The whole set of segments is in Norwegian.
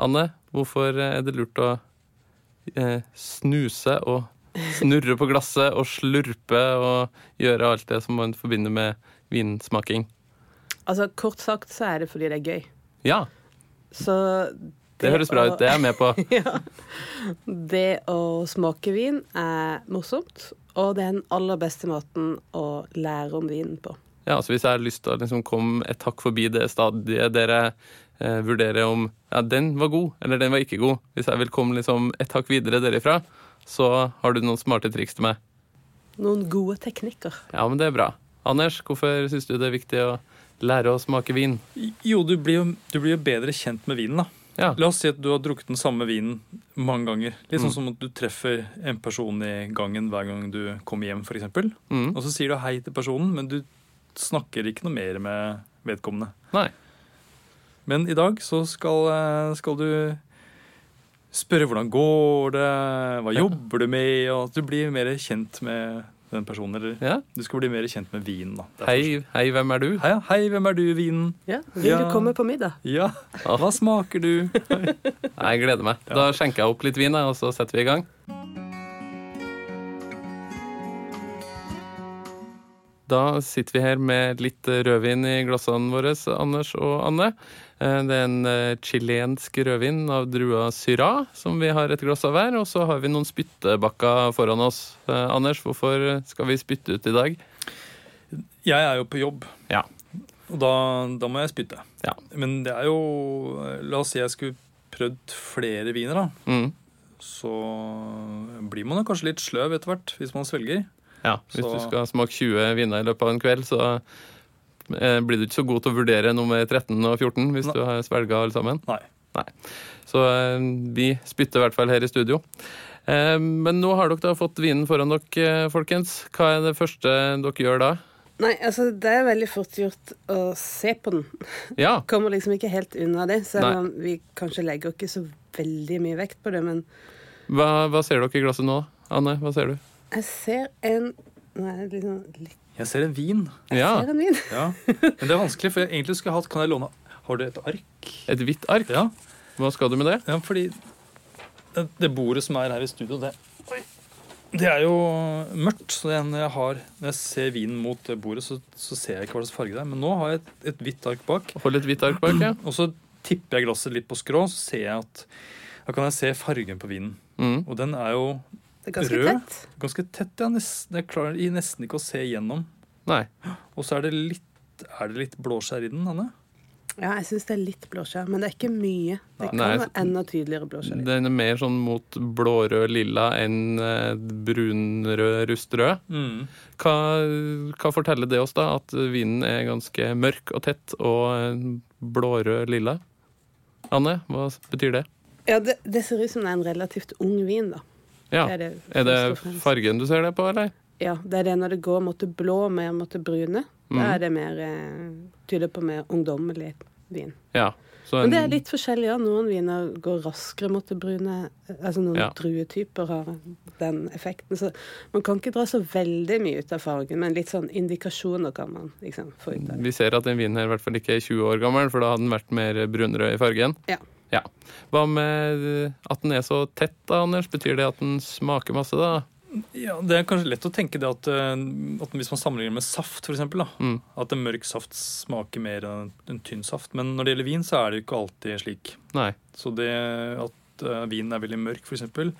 Anne, hvorfor er det lurt å eh, snuse og snurre på glasset og slurpe og gjøre alt det som man forbinder med vinsmaking? Altså, Kort sagt så er det fordi det er gøy. Ja, Så det høres bra ut. Det Å, er jeg med på. det å smake vin er morsomt, og det er den aller beste måten å lære om vinen på. Ja, så Hvis jeg har lyst til å liksom komme et hakk forbi det stadiet der jeg eh, vurderer om ja, den var god eller den var ikke god, hvis jeg vil komme liksom et hakk videre derifra, så har du noen smarte triks til meg. Noen gode teknikker. Ja, men det er bra. Anders, hvorfor syns du det er viktig å lære å smake vin? Jo, du blir jo, du blir jo bedre kjent med vinen, da. Ja, La oss si at du har drukket den samme vinen mange ganger. Litt Mm. sånn som at du treffer en person i gangen hver gang du kommer hjem, f.eks. mm, Og så sier du hei til personen, men du snakker ikke noe mer med vedkommende. Nei. Men i dag så skal, eh, skal du spørre hvordan går det, hva Ja. jobber du med, og at du blir mer kjent med den personen. Eller ja. du skal bli mer kjent med vinen, da. Derfor- Hei, hei, hvem er du? Hei, ja. hei, hvem er du, vinen? Ja, Vil Ja. du komme på middag? Ja, Åh. hva smaker du? Jeg gleder meg. Da skjenker jeg opp litt vin, jeg, og så setter vi i gang. Da sitter vi her med litt rødvin i glassene våre, Anders og Anne. Eh, Det er en eh, chilensk rødvin av drua Syrah, som vi har et glass av hver. Og så har vi noen spyttebakker foran oss. Eh, Anders, hvorfor skal vi spytte ut i dag? Jeg er jo på jobb. Ja. Og da, da må jeg spytte. Ja. Men det er jo La oss si jeg skulle prøvd flere viner, da. Mm. Så blir man jo kanskje litt sløv etter hvert, hvis man svelger. Ja, hvis Så- du skal smake 20 viner i løpet av en kveld, så eh, blir du ikke så god til å vurdere nummer 13 og 14 hvis Nei. du har svelga alle sammen. Nei. Så eh, vi spytter i hvert fall her i studio. Eh, Men nå har dere da fått vinen foran dere, eh, folkens. Hva er det første dere gjør da? Nei, altså, det er veldig fort gjort å se på den. Ja, Kommer liksom ikke helt unna det, Nei. selv om vi kanskje legger ikke så veldig mye vekt på det, men hva, hva ser dere i glasset nå? Anne, hva ser du? jeg ser en Nei, liksom litt Jeg ser en vin. Ja, ser en vin. Ja. Men det er vanskelig, for jeg egentlig skulle jeg hatt Kan jeg låne Har du et ark? et hvitt ark. Ja, Hva skal du med det? ja fordi det, det bordet som er her i studio, det Oi. det er jo mørkt, så det, når, jeg har, når jeg ser vinen mot det bordet, så, så ser jeg ikke hva slags farge det er. Men nå har jeg et, et hvitt ark bak, Hold et hvitt ark bak, ja. Og så tipper jeg glasset litt på skrå, så ser jeg at da kan jeg se fargen på vinen. Mm. Og den er jo Det er ganske Rød? tett. ganske tett. Ja, nesten, jeg klarer i nesten ikke å se igjennom. Nei. Og så er det litt, er det litt blåskjær i den, Anne. Ja, jeg syns det er litt blåskjær, men det er ikke mye. Det kan Nei, være enda tydeligere blåskjær. i. Den er mer sånn mot blårød-lilla enn eh, brunrød, rustrød. Mm. Hva, hva forteller det oss, da? At vinen er ganske mørk og tett og eh, blårød-lilla? Anne, hva betyr det? Ja, det, det ser ut som det er en relativt ung vin, da. Ja, Det er det, Er det først og fremst. fargen du ser det på, eller? Ja, det er det når det går mot det blå mer mot det brune. Da Mhm. er det mer eh, tyder på mer ungdommelig vin. Ja. Så Men det en- er litt forskjellig. Ja. Noen viner går raskere mot det brune. Altså noen Ja. druetyper har den effekten. Så man kan ikke dra så veldig mye ut av fargen, men litt sånn indikasjoner kan man liksom få ut av det. Vi ser at den vinen her i hvert fall ikke er 20 år gammel, for da hadde den vært mer brunrød i fargen. Ja. ja. Hva med eh, at den er så tett, da, Anders? Betyr det at den smaker masse, da? Ja, det er kanskje lett å tenke det at, eh, at hvis man sammenligner med saft, for eksempel, da, Mm. at en mørk saft smaker mer enn en tynn saft. Men når det gjelder vin, så er det jo ikke alltid slik. Nei. Så det at eh, vinen er veldig mørk, for eksempel,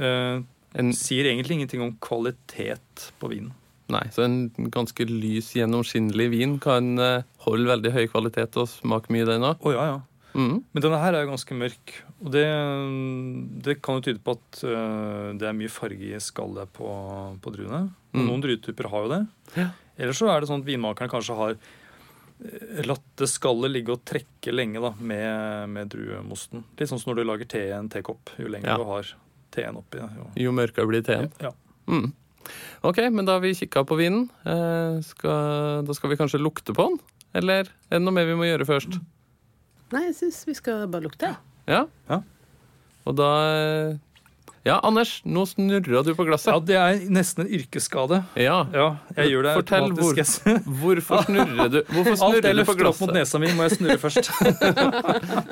eh, En, sier egentlig ingenting om kvalitet på vinen. nei. Så en ganske lys, gjennomskinnelig vin kan eh, holde veldig høy kvalitet og smake mye, den òg. Å ja, ja. Mm. Men denne her er jo ganske mørk, og det, det kan jo tyde på at øh, det er mye farge i skallet på, på druene. Og Mm. Noen druetyper har jo det. Ja. Eller så er det sånn at vinmakerne kanskje har latt det skallet ligge og trekke lenge da, med, med druemosten. Litt sånn som når du lager te i en tekopp. Jo lenger Ja. du har teen oppi. Jo. Jo mørkere blir teen. Ja. Mm. Ok, men da har vi kikka på vinen. Eh, skal, da skal vi kanskje lukte på den? Eller er det noe mer vi må gjøre først? Nei, jeg syns vi skal bare lukte. Ja? Ja. Og da eh, Ja, Anders, nå snurra du på ja, glasset. det er nesten en yrkesskade. Ja. Ja, jeg gjør det Fortell hvor- automatisk. Hvor. Hvorfor snurrer du Hvorfor Alt snurrer jeg du på løfter opp mot glasset? nesa mi, må jeg snurre først.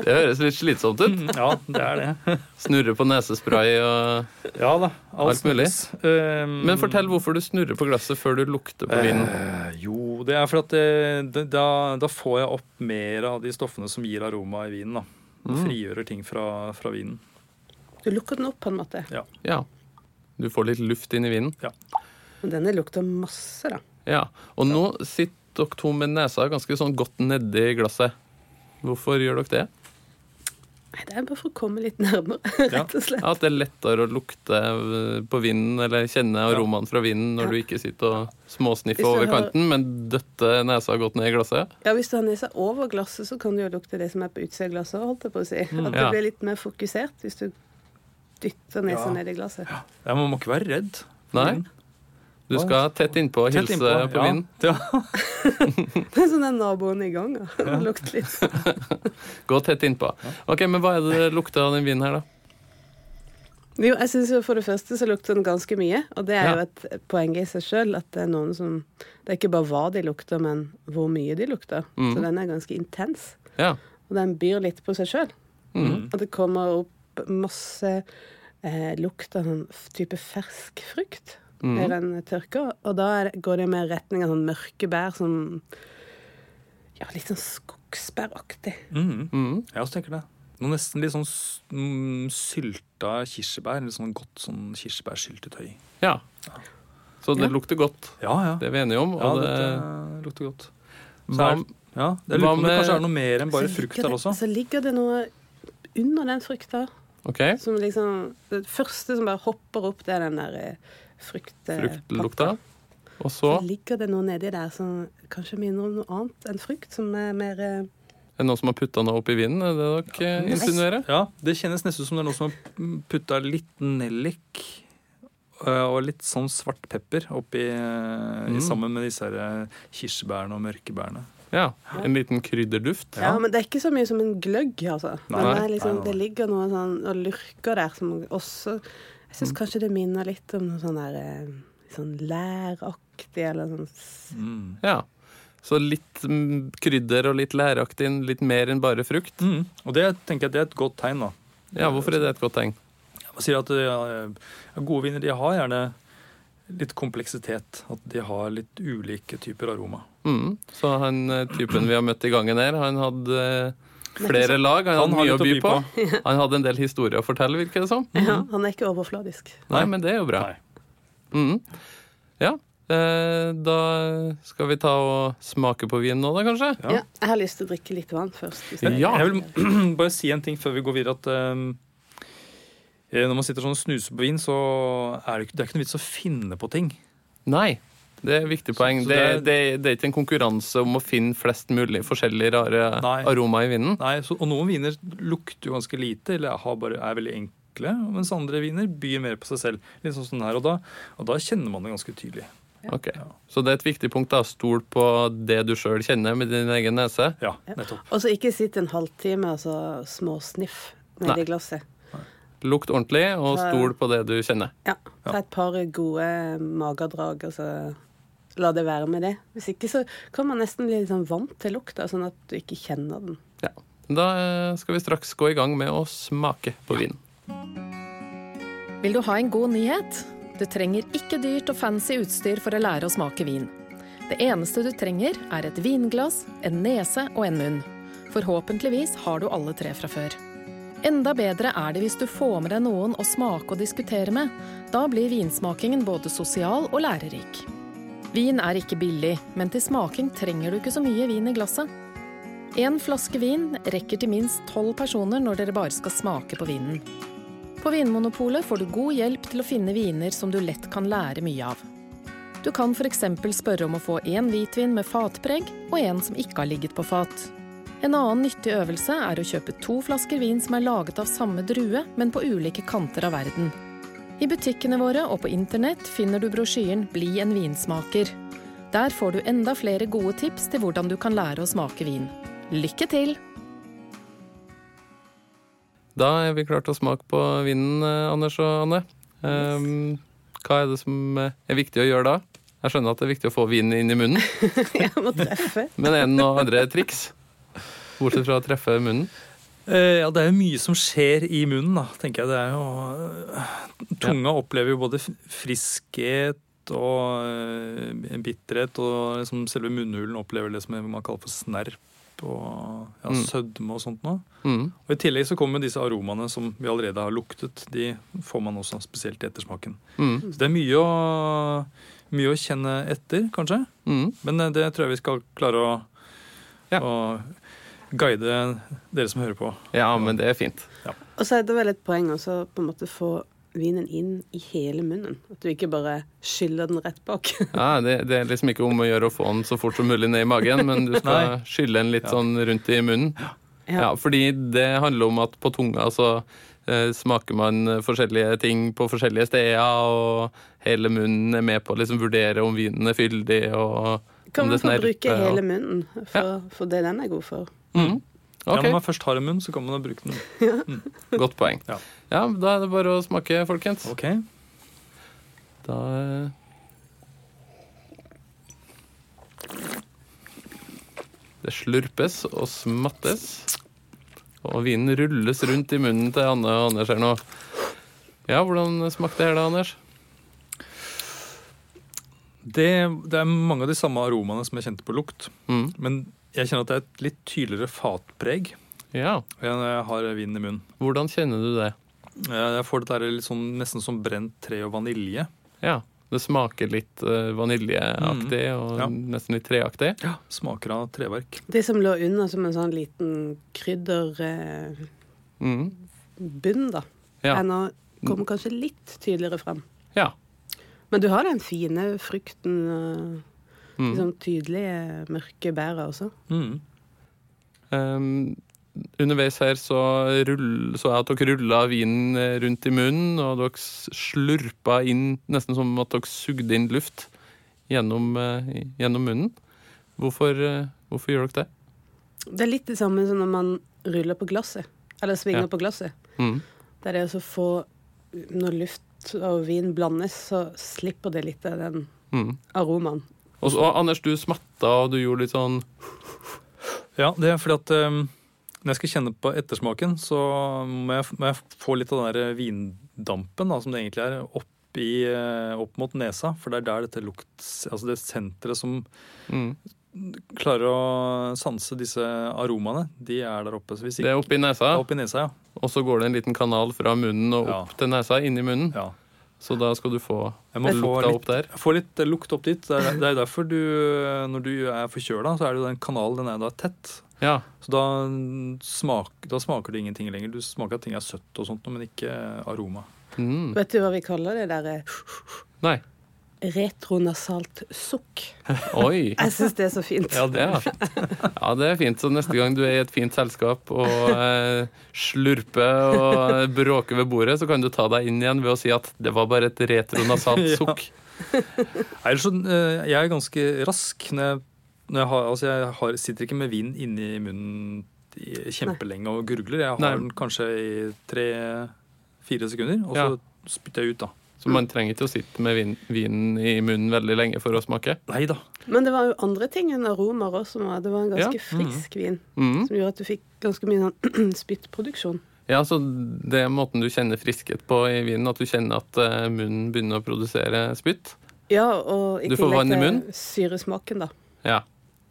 Det høres litt slitsomt ut. Ja, det er det. Snurre på nesespray og Ja da. Alt mulig. snurres. Um, Men fortell hvorfor du snurrer på glasset før du lukter på vinen. Eh, jo, det er for at det, det, da, da får jeg opp mer av de stoffene som gir aroma i vinen. da. Mm. Frigjører ting fra, fra vinen. Du lukker den opp på en måte. Ja. Du får litt luft inn i vinen. Men denne lukter masse, da. Ja. Og nå sitter dere to med nesa ganske sånn godt nedi glasset. Hvorfor gjør dere det? Nei, det er bare for å komme litt nærmere, Ja. rett og slett. Ja, At det er lettere å lukte eh, på vinen eller kjenne aromaen fra vinen når Ja. du ikke sitter og småsniffer Hvis du over har- kanten, men døtter nesa godt ned i glasset? Ja, Hvis du har nesa over glasset, så kan du jo lukte det som er på utsida av glasset. holdt jeg på å si. At det Ja. blir litt mer fokusert hvis du dytter nesa Ja. ned i glasset. Ja, man må ikke være redd. for Nei. vinen. Du skal tett innpå og Mm. Tett hilse innpå, på ja. vinen. Ja. Det er sånn den naboen i gang og lukter litt. Gå tett innpå. Ok, Men hva er det det lukter av den vinen her, da? Jo, jeg synes jo For det første så lukter den ganske mye, og det er Ja. jo et poeng i seg sjøl. At det er noen som Det er ikke bare hva de lukter, men hvor mye de lukter. Mhm. Så den er ganske intens. Ja. Og den byr litt på seg sjøl. Mm. Og det kommer opp masse eh, lukt av sånn f- type fersk frukt Mm. Mhm. mer enn tørka. Og da er, det- går det mer i retning av sånn mørke bær, sånn Ja, litt sånn skogsbæraktig. Mhm. Mm. Jeg også tenker det. Noe nesten litt sånn s- mm, sylta kirsebær. Litt sånn godt sånn kirsebærsyltetøy. ja. Så det Ja. lukter godt. Ja, ja. Det er vi enige om. ja Og det, dette lukter godt. Så hva, er det- Ja, hva det lurer på om det med- kanskje er noe mer enn bare Så frukt ligger der det- også. Så ligger det noe under den frukta ok, Eh, som liksom Det første som bare hopper opp, det er den der eh, frukt... eh, Fruktlukta. pakka. Og så Så ligger det noe nedi der som kanskje minner om noe annet enn frukt, som er mer eh, er det noen som har putta noe oppi vinen? Er det dere eh, insinuerer? Ja, Det kjennes nesten ut som det er noen som har putta litt nellik eh, og litt sånn svart pepper oppi eh, Mm. i- sammen med disse her eh, kirsebærene og mørkebærene. Ja. En liten krydderduft. Ja, men det er ikke så mye som en gløgg, altså. men Nei. det, er liksom, Nei, nei, nei. det ligger noe sånn og lurker der som også Jeg syns kanskje det minner litt om noe sånn der eh, sånn læraktig eller sånn s- Mm. Ja. Så litt mm, krydder og litt læraktig, litt mer enn bare frukt. Mm. Og det tenker jeg det er et godt tegn, da. Ja, hvorfor er det et godt tegn? Man sier at ja, ja, gode viner de har gjerne litt kompleksitet. At de har litt ulike typer aroma. Mm. Så han eh, typen vi har møtt i gangen her, han hadde eh, flere lag. Han Han hadde har mye å litt by på. Han hadde en del historier å fortelle, virker det som. Ja, han er ikke overfladisk. Nei, men det er jo bra. Nei. Mm. Ja. Eh, Da skal vi ta og smake på vinen nå, da, kanskje? Ja. Ja. jeg har lyst til å drikke litt vann først. hvis det er Ja. Jeg vil bare si en ting før vi går videre. at ehm, eh, Når man sitter sånn og snuser på vin, så er det, ikke, det er ikke noe vits å finne på ting. Nei. Det er et viktig poeng. så det, det er, er- det, er, det er ikke en konkurranse om å finne flest mulig forskjellige rare Nei. aromaer i vinen. Nei, så, og Noen viner lukter jo ganske lite, eller har bare, er veldig enkle. Mens andre viner byr mer på seg selv. Litt sånn som den her, og da, og da kjenner man det ganske tydelig. Ok. Så det er et viktig punkt. da, Stol på det du sjøl kjenner med din egen nese. Ja, Ja. nettopp. Og så ikke sitt en halvtime altså, og så småsniff Nei. nedi glasset. Lukt ordentlig, og Ta- stol på det du kjenner. Ja. Ta et par gode magedrag, og så la det være med det. Hvis ikke så kan man nesten bli litt sånn vant til lukta, sånn at du ikke kjenner den. Ja. Da eh, skal vi straks gå i gang med å smake på vinen. Vil du ha en god nyhet? Du trenger ikke dyrt og fancy utstyr for å lære å smake vin. Det eneste du trenger, er et vinglass, en nese og en munn. Forhåpentligvis har du alle tre fra før. Enda bedre er det hvis du får med deg noen å smake og diskutere med. Da blir vinsmakingen både sosial og lærerik. Vin er ikke billig, men til smaking trenger du ikke så mye vin i glasset. En flaske vin rekker til minst tolv personer når dere bare skal smake på vinen. På Vinmonopolet får du god hjelp til å finne viner som du lett kan lære mye av. Du kan f.eks. spørre om å få én hvitvin med fatpreg og en som ikke har ligget på fat. En annen nyttig øvelse er å kjøpe to flasker vin som er laget av samme drue, men på ulike kanter av verden. I butikkene våre og på internett finner du brosjyren Bli en vinsmaker. Der får du enda flere gode tips til hvordan du kan lære å smake vin. Lykke til! Da er vi klare til å smake på vinen, eh, Anders og Anne. Ehm, hva er det som eh, er viktig å gjøre da? Jeg skjønner at det er viktig å få vinen inn i munnen, Jeg må treffe. men er det noen andre triks? Bortsett fra å treffe munnen. Eh, Ja, det er jo mye som skjer i munnen, da, tenker jeg. Det er jo eh, Tunga opplever jo både f- friskhet og eh, bitterhet, og liksom selve munnhulen opplever det som man kaller for snerp og ja, Mm. sødme og sånt noe. Mm. Og I tillegg så kommer disse aromaene som vi allerede har luktet. De får man også spesielt i ettersmaken. Mm. Så det er mye å, mye å kjenne etter, kanskje. Mm. Men eh, det tror jeg vi skal klare å, Ja. å guide dere som hører på. Ja, men det er fint. Og så er det vel et poeng også på en måte få vinen inn i hele munnen. At du ikke bare skyller den rett bak. Ja, det, det er liksom ikke om å gjøre å få den så fort som mulig ned i magen, men du skal Nei. skylle den litt Ja. sånn rundt i munnen. Ja, fordi det handler om at på tunga så eh, smaker man forskjellige ting på forskjellige steder, og hele munnen er med på å liksom vurdere om vinen er fyldig og om Kan man det få snerper, bruke hele og- munnen for, for det den er god for? Mm. Ja, når Ok, man først har en munn, så kan man bruke den. godt poeng. Ja. Ja, da er det bare å smake, folkens. Ok, Da eh, Det slurpes og smattes, og vinen rulles rundt i munnen til Anne og Anders her nå. Ja, hvordan smakte det her da, Anders? det, det er mange av de samme aromaene som jeg kjente på lukt. Mm. Men jeg kjenner at det er et litt tydeligere fatpreg Ja, når jeg har vinen i munnen. hvordan kjenner du det? Eh, Jeg får dette her litt sånn, nesten som brent tre og vanilje. Ja, det smaker litt eh, vaniljeaktig og Ja. nesten litt treaktig. Smaker av treverk. Det som lå under som en sånn liten krydderbunn, Mm. da. Ja. Er nå kommer kanskje litt tydeligere frem. ja. Men du har den fine frukten og Mm. liksom tydelige mørke bæra også. Mm. Ehm, underveis her så, rull, så jeg at dere rulla vinen eh, rundt i munnen, og dere s- slurpa inn nesten som at dere sugde inn luft gjennom, eh, i- gjennom munnen. Hvorfor, eh, hvorfor gjør dere det? Det er litt det samme som når man ruller på glasset, eller svinger Ja. på glasset. Mm. Det er det å så få Når luft og vin blandes, så slipper det litt av den Mm. aromaen. Og så, og Anders, du smatta, og du gjorde litt sånn Ja, det er fordi at eh, når jeg skal kjenne på ettersmaken, så må jeg, må jeg få litt av den der vindampen da, som det egentlig er, opp, i, eh, opp mot nesa. For det er der dette lukt... Altså det senteret som mm. klarer å sanse disse aromaene, de er der oppe. Så hvis Det ikke, er oppi nesa, oppi nesa, ja. og så går det en liten kanal fra munnen og Ja. opp til nesa, inn i munnen. ja. Så da skal du få Jeg må få lukta opp litt, der. få litt eh, lukt opp dit. Det er, det er derfor du, eh, når du er forkjøla, så er det jo den kanalen, den er da tett. Ja. Så da, smak, da smaker det ingenting lenger. Du smaker at ting er søtt og sånt, men ikke aroma. Mm. Vet du hva vi kaller det der eh, Nei. retronasalt sukk? Oi. Jeg syns det er så fint. Ja, det Ja. ja, det er fint. Så neste gang du er i et fint selskap og eh, slurper og eh, bråker ved bordet, så kan du ta deg inn igjen ved å si at det var bare et retronasalt Ja. sukk. Nei, Ellers så, eh, jeg er ganske rask når jeg, når jeg har Altså, jeg har, sitter ikke med vin inni munnen i- kjempelenge og gurgler. Jeg har Nei. den kanskje i tre-fire sekunder, og så Ja. spytter jeg ut, da. Så man trenger ikke å sitte med vin, vinen i munnen veldig lenge for å smake. Nei da. Men det var jo andre ting enn aromaer også. som var- Det var en ganske Ja. frisk vin Mm. som gjorde at du fikk ganske mye sånn spyttproduksjon. Ja, så det er måten du kjenner friskhet på i vinen, at du kjenner at eh, munnen begynner å produsere spytt. Ja, og i Du får vann i tillegg munnen? til syresmaken, da. Um, Ja.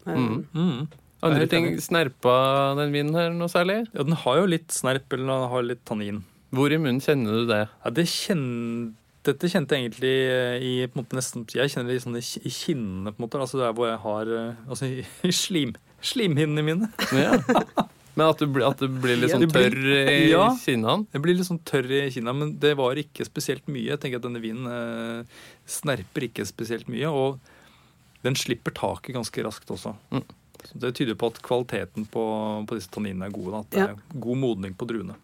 Mm. Mm. Andre Jeg er ting helt snerpa den vinen her noe særlig? Ja, den har jo litt snerp, eller den har litt tannin. Hvor i munnen kjenner du det? Ja, det kjen- Dette kjente jeg egentlig i på en måte nesten Jeg kjenner det i sånne ki- i kinnene, på en måte. Altså der hvor jeg har eh, Altså i, i slim, slimhinnene mine. Ja. Men at du, blir- at du blir litt Ja, sånn det blir- tørr i Ja. kinnene? Jeg blir litt sånn tørr i kinna, men det var ikke spesielt mye. Jeg tenker at denne vinen eh, snerper ikke spesielt mye, og den slipper taket ganske raskt også. Mm. Så det tyder på at kvaliteten på, på disse tanninene er gode. Da, at det Ja. er god modning på druene.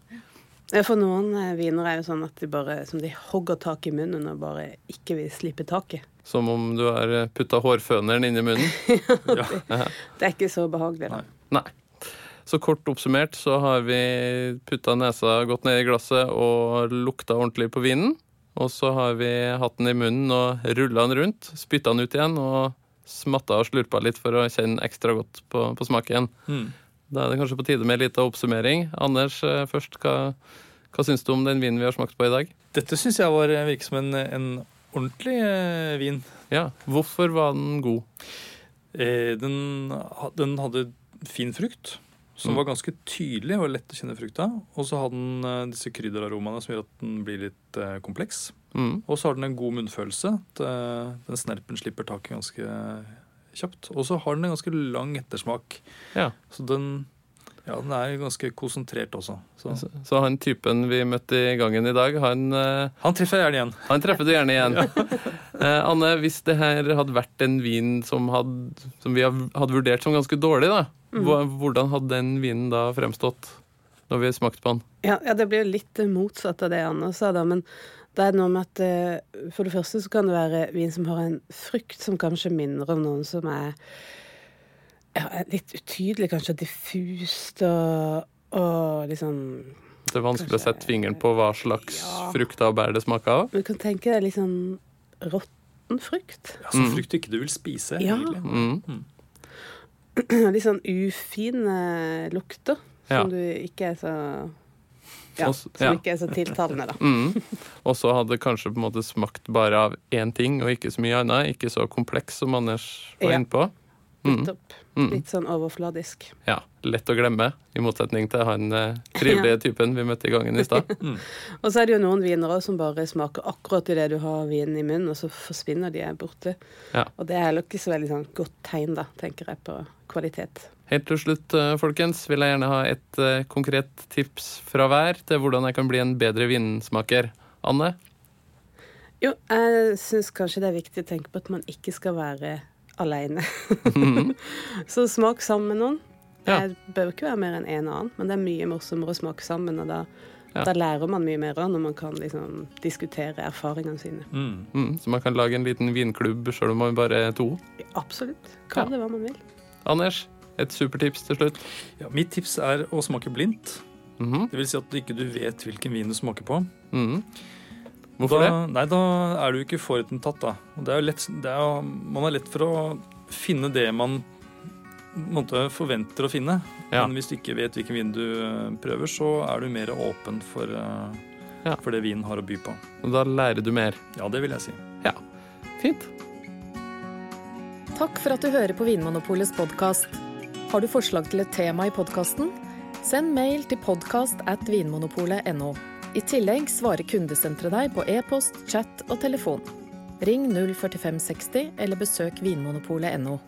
Ja, For noen eh, viner er jo sånn at de bare som de hogger tak i munnen og bare ikke vil slippe taket. Som om du har putta hårføneren inn i munnen? Ja. Det er ikke så behagelig, da. Nei. Nei. Så kort oppsummert så har vi putta nesa godt ned i glasset og lukta ordentlig på vinen. Og så har vi hatt den i munnen og rulla den rundt, spytta den ut igjen og smatta og slurpa litt for å kjenne ekstra godt på, på smaken. Mm. Da er det kanskje på tide med en liten oppsummering. Anders, eh, først, hva, hva syns du om den vinen vi har smakt på i dag? Dette syns jeg var, eh, virker som en, en ordentlig eh, vin. Ja, Hvorfor var den god? Eh, den, ha- den hadde fin frukt, som Mm. var ganske tydelig og lett å kjenne frukta. Og så hadde den eh, disse krydderaromaene som gjør at den blir litt eh, kompleks. Mm. Og så har den en god munnfølelse. at, eh, Den snerpen slipper taket ganske kjapt. Og så har den en ganske lang ettersmak. Ja. Så den, ja, den er ganske konsentrert også. Så. Så, så han typen vi møtte i gangen i dag, han eh, Han treffer jeg gjerne igjen. Han treffer du gjerne igjen. Eh, Anne, hvis det her hadde vært en vin som, hadde, som vi hadde vurdert som ganske dårlig, da, Mm. hva- hvordan hadde den vinen da fremstått når vi smakte på den? Ja, ja, det blir jo litt eh, motsatt av det Anders sa, da, men det er noe med at eh, for det første så kan det være vin som har en frukt som kanskje minner om noen som er ja, er litt utydelig, kanskje diffust og, og liksom Det er vanskelig å sette fingeren på hva slags frukter og bær det smaker av. Du kan tenke deg litt sånn råtten frukt. Ja, så frukt du ikke du vil spise, Ja. egentlig. Mm. Litt sånn ufine lukter Ja. som du ikke er så Ja, Og s- ja. som ikke er så tiltalende, da. Mm. Og så hadde det kanskje på en måte smakt bare av én ting og ikke så mye annet. Ikke så kompleks som Anders var Ja. inne på. Mm. Nettopp. Mm. Litt sånn overfladisk. Ja, Lett å glemme, i motsetning til han eh, trivelige typen vi møtte i gangen i stad. Og så er det jo noen viner også som bare smaker akkurat idet du har vinen i munnen, og så forsvinner de er borte. Ja. Og det er heller ikke så veldig sånn godt tegn, da, tenker jeg, på kvalitet. Helt til slutt, eh, folkens, vil jeg gjerne ha et eh, konkret tips fra hver til hvordan jeg kan bli en bedre vinsmaker. Anne? Jo, jeg syns kanskje det er viktig å tenke på at man ikke skal være aleine. Mhm, så smak sammen med noen. Ja. Det bør ikke være mer enn én annen, men det er mye morsommere å smake sammen, og da, Ja. da lærer man mye mer når man kan liksom diskutere erfaringene sine. Mm. Mm, så man kan lage en liten vinklubb sjøl om man bare er to. Absolutt. Kall Ja. det hva man vil. Anders, et supertips til slutt. Ja, mitt tips er å smake blindt. Mhm, Det vil si at du ikke du vet hvilken vin du smaker på. mhm. Hvorfor da, det? Nei, da er du ikke forutinntatt, da. Og det er jo lett, det er, jo- man er lett for å finne det man på en måte, forventer å finne. Ja. Men hvis du ikke vet hvilken vin du eh, prøver, så er du mer åpen for, eh, Ja. for det vinen har å by på. Da lærer du mer. Ja, det vil jeg si. Fint. Takk for at du hører på Vinmonopolets podkast. Har du forslag til et tema i podkasten? Send mail til podkast at vinmonopolet.no. I tillegg svarer kundesenteret deg på e-post, chat og telefon. Ring 04560 eller besøk vinmonopolet.no.